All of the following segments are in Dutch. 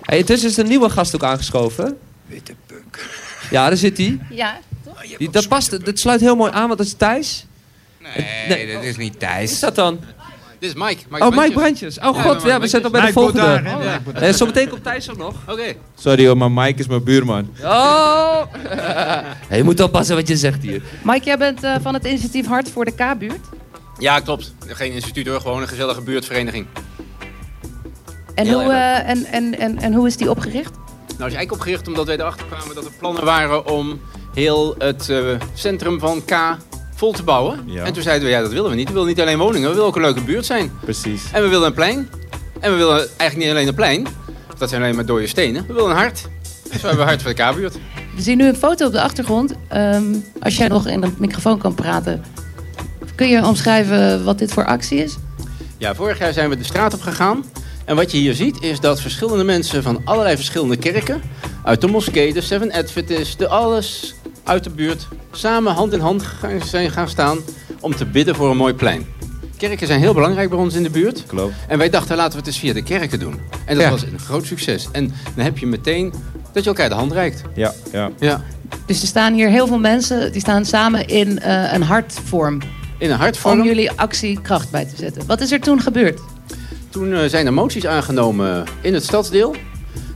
Hey, intussen is een nieuwe gast ook aangeschoven. Witte puk. Ja, daar zit hij. Ja, toch? Oh, je hebt Die- ook Dat zo'n past, witte dat sluit heel mooi aan, want dat is Thijs. Nee, Nee. dat is niet Wie is Thijs. dat dan? Dit is Mike. Mike Oh, Mike Brandjes. Brandjes. Oh Ja, god, Mike ja, we zijn al bij de Mike wordt daar, volgende. hè? Ja. Mike wordt Eh, Zometeen komt Thijs ook nog. Oké. Sorry hoor, maar Mike is mijn buurman. Oh! je moet oppassen wat je zegt hier. Mike, jij bent eh, van het initiatief Hart voor de K-buurt. Ja, klopt. Geen instituut hoor, gewoon een gezellige buurtvereniging. En, Heel hoe, erg. eh, en, en, en, en hoe is die opgericht? Nou, is eigenlijk opgericht omdat wij erachter kwamen dat er plannen waren om heel het eh, centrum van K vol te bouwen. Ja. En toen zeiden we, ja, dat willen we niet. We willen niet alleen woningen, we willen ook een leuke buurt zijn. Precies. En we willen een plein. En we willen eigenlijk niet alleen een plein. Dat zijn alleen maar dode stenen. We willen een hart. Zo hebben we hart voor de K-buurt. We zien nu een foto op de achtergrond. Ehm, als jij nog in de microfoon kan praten, kun je omschrijven wat dit voor actie is? Ja, vorig jaar zijn we de straat op gegaan. En wat je hier ziet is dat verschillende mensen van allerlei verschillende kerken... uit de moskee, de Seven Adventist, de alles uit de buurt... samen hand in hand gaan- zijn gaan staan om te bidden voor een mooi plein. Kerken zijn heel belangrijk bij ons in de buurt. Klopt. En wij dachten, laten we het eens via de kerken doen. En dat Ja. was een groot succes. En dan heb je meteen dat je elkaar de hand reikt. Ja, ja. Ja. Dus er staan hier heel veel mensen, die staan samen in eh, een hartvorm. In een hartvorm. Om jullie actie kracht bij te zetten. Wat is er toen gebeurd? Toen eh, zijn er moties aangenomen in het stadsdeel.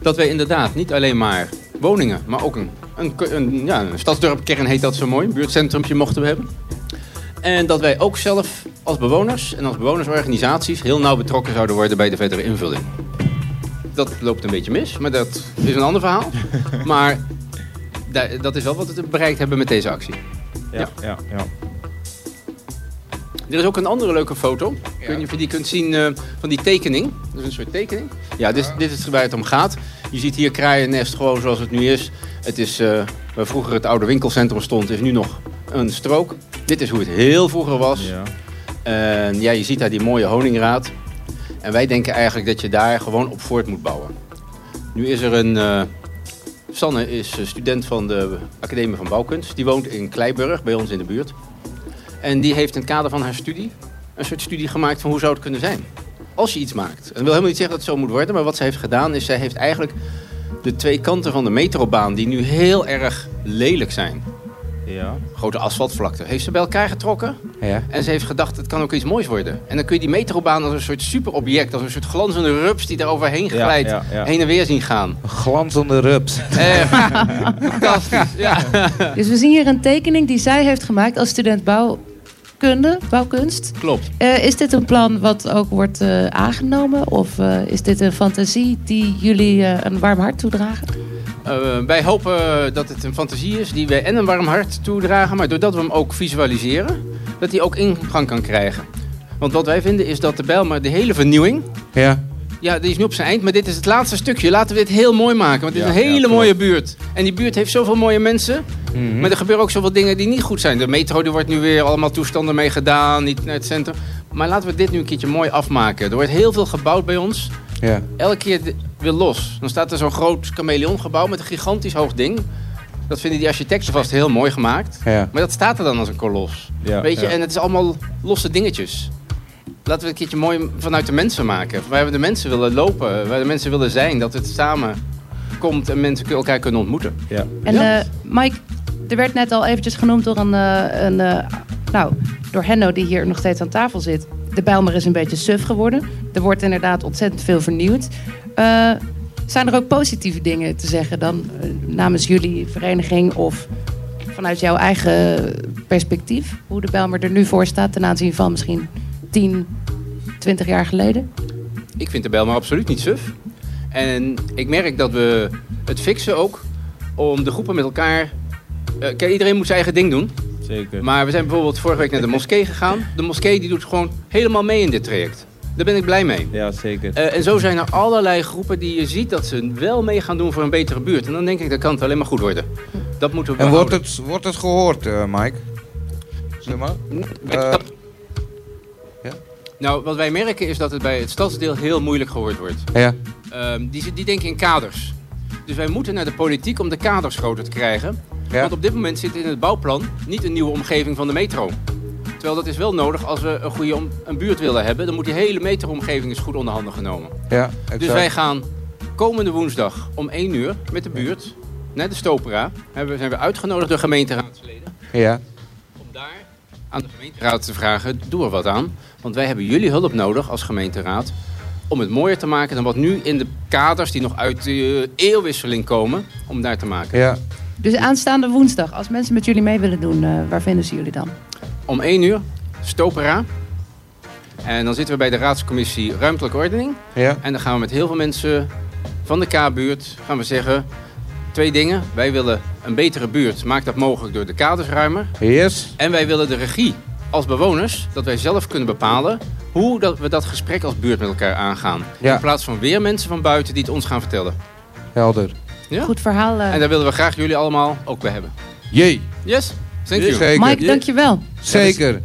Dat wij inderdaad niet alleen maar woningen, maar ook een, een, k- een, ja, een stadsdorpkern heet dat zo mooi. Een buurtcentrumpje mochten we hebben. En dat wij ook zelf als bewoners en als bewonersorganisaties heel nauw betrokken zouden worden bij de verdere invulling. Dat loopt een beetje mis, maar dat is een ander verhaal. Maar da- dat is wel wat we bereikt hebben met deze actie. Ja, ja, ja. Er is ook een andere leuke foto. Ik weet niet of je die kunt zien eh, van die tekening. Dat is een soort tekening. Ja, dit, is- dit is waar het om gaat. Je ziet hier kraaiennest gewoon zoals het nu is. Het is eh, waar vroeger het oude winkelcentrum stond, is nu nog een strook. Dit is hoe het heel vroeger was. ja. En ja, je ziet daar die mooie honingraad. En wij denken eigenlijk dat je daar gewoon op voort moet bouwen. Nu is er een... eh, Sanne is eh, student van de Academie van Bouwkunst. Die woont in Kleiburg, bij ons in de buurt. En die heeft in het kader van haar studie een soort studie gemaakt van hoe zou het kunnen zijn. Als je iets maakt. En dat wil helemaal niet zeggen dat het zo moet worden. Maar wat zij heeft gedaan is, zij heeft eigenlijk de twee kanten van de metrobaan... die nu heel erg lelijk zijn. ja. Grote asfaltvlakte. Heeft ze bij elkaar getrokken. Ja. En ze heeft gedacht, het kan ook iets moois worden. En dan kun je die metrobaan als een soort superobject, als een soort glanzende rups die daar overheen Ja, glijdt, ja, ja. Oh, heen en weer zien gaan. Glanzende rups. Echt fantastisch. Ja. Dus we zien hier een tekening die zij heeft gemaakt als student bouwkunde, bouwkunst. Klopt. Eh, is dit een plan wat ook wordt eh, aangenomen? Of eh, is dit een fantasie die jullie eh, een warm hart toedragen? Eh, wij hopen dat het een fantasie is die wij en een warm hart toedragen, maar doordat we hem ook visualiseren, dat hij ook ingang kan krijgen. Want wat wij vinden is dat de Bijl maar de hele vernieuwing, Ja. ja, die is nu op zijn eind, maar dit is het laatste stukje. Laten we dit heel mooi maken, want het is Ja, een hele ja, klopt. Mhm. mooie buurt. En die buurt heeft zoveel mooie mensen. Maar er gebeuren ook zoveel dingen die niet goed zijn. De metro, er wordt nu weer allemaal toestanden mee gedaan, niet naar het centrum. Maar laten we dit nu een keertje mooi afmaken. Er wordt heel veel gebouwd bij ons. Ja. Elke keer de- weer los. Dan staat er zo'n groot chameleongebouw met een gigantisch hoog ding. Dat vinden die architecten vast heel mooi gemaakt. Ja. Maar dat staat er dan als een kolos. Ja, Weet je, ja. en het is allemaal losse dingetjes. Laten we het een keertje mooi vanuit de mensen maken. Waar we de mensen willen lopen, waar de mensen willen zijn. Dat het samen komt en mensen elkaar kunnen ontmoeten. Ja. En eh, Mike, er werd net al eventjes genoemd door een, eh, een eh, nou, door Henno die hier nog steeds aan tafel zit. De Bijlmer is een beetje suf geworden. Er wordt inderdaad ontzettend veel vernieuwd. Eh, zijn er ook positieve dingen te zeggen dan eh, namens jullie vereniging of vanuit jouw eigen perspectief? Hoe de Bijlmer er nu voor staat ten aanzien van misschien 10, 20 jaar geleden? Ik vind de bel maar absoluut niet suf. En ik merk dat we het fixen ook om de groepen met elkaar... eh, kijk, iedereen moet zijn eigen ding doen. Zeker. Maar we zijn bijvoorbeeld vorige week naar de moskee gegaan. De moskee die doet gewoon helemaal mee in dit traject. Daar ben ik blij mee. Ja, zeker. Eh, en zo zijn er allerlei groepen die je ziet dat ze wel mee gaan doen voor een betere buurt. En dan denk ik, dat kan het alleen maar goed worden. Dat moeten we En wordt behouden. het, wordt het gehoord, eh, Mike? Zeg maar. Eh, Nou, wat wij merken is dat het bij het stadsdeel heel moeilijk gehoord wordt. ja. Ehm, die, zit- die denken in kaders. Dus wij moeten naar de politiek om de kaders groter te krijgen. Ja. Want op dit moment zit in het bouwplan niet een nieuwe omgeving van de metro. Terwijl dat is wel nodig als we een goede om, een buurt willen hebben. Dan moet die hele metroomgeving is goed onder handen genomen. ja Dus wij gaan komende woensdag om 1 uur met de buurt naar de Stopera. Hebben, zijn we uitgenodigd door gemeenteraadsleden Ja. om daar aan de gemeenteraad te vragen, doe er wat aan. Want wij hebben jullie hulp nodig als gemeenteraad om het mooier te maken dan wat nu in de kaders die nog uit de eh, eeuwwisseling komen, om daar te maken. Ja. Dus aanstaande woensdag, als mensen met jullie mee willen doen, eh, waar vinden ze jullie dan? Om 1 uur, Stopera. En dan zitten we bij de raadscommissie Ruimtelijke Ordening. Ja. En dan gaan we met heel veel mensen van de K-buurt gaan we zeggen twee dingen. Wij willen een betere buurt, maak dat mogelijk door de kaders ruimer. Yes. En wij willen de regie als bewoners, dat wij zelf kunnen bepalen hoe dat we dat gesprek als buurt met elkaar aangaan. Ja. In plaats van weer mensen van buiten die het ons gaan vertellen. Helder. Ja. Goed verhaal. eh. En daar willen we graag jullie allemaal ook bij hebben. Jee. Yes, thank you. Zeker. Mike, dankjewel. Zeker.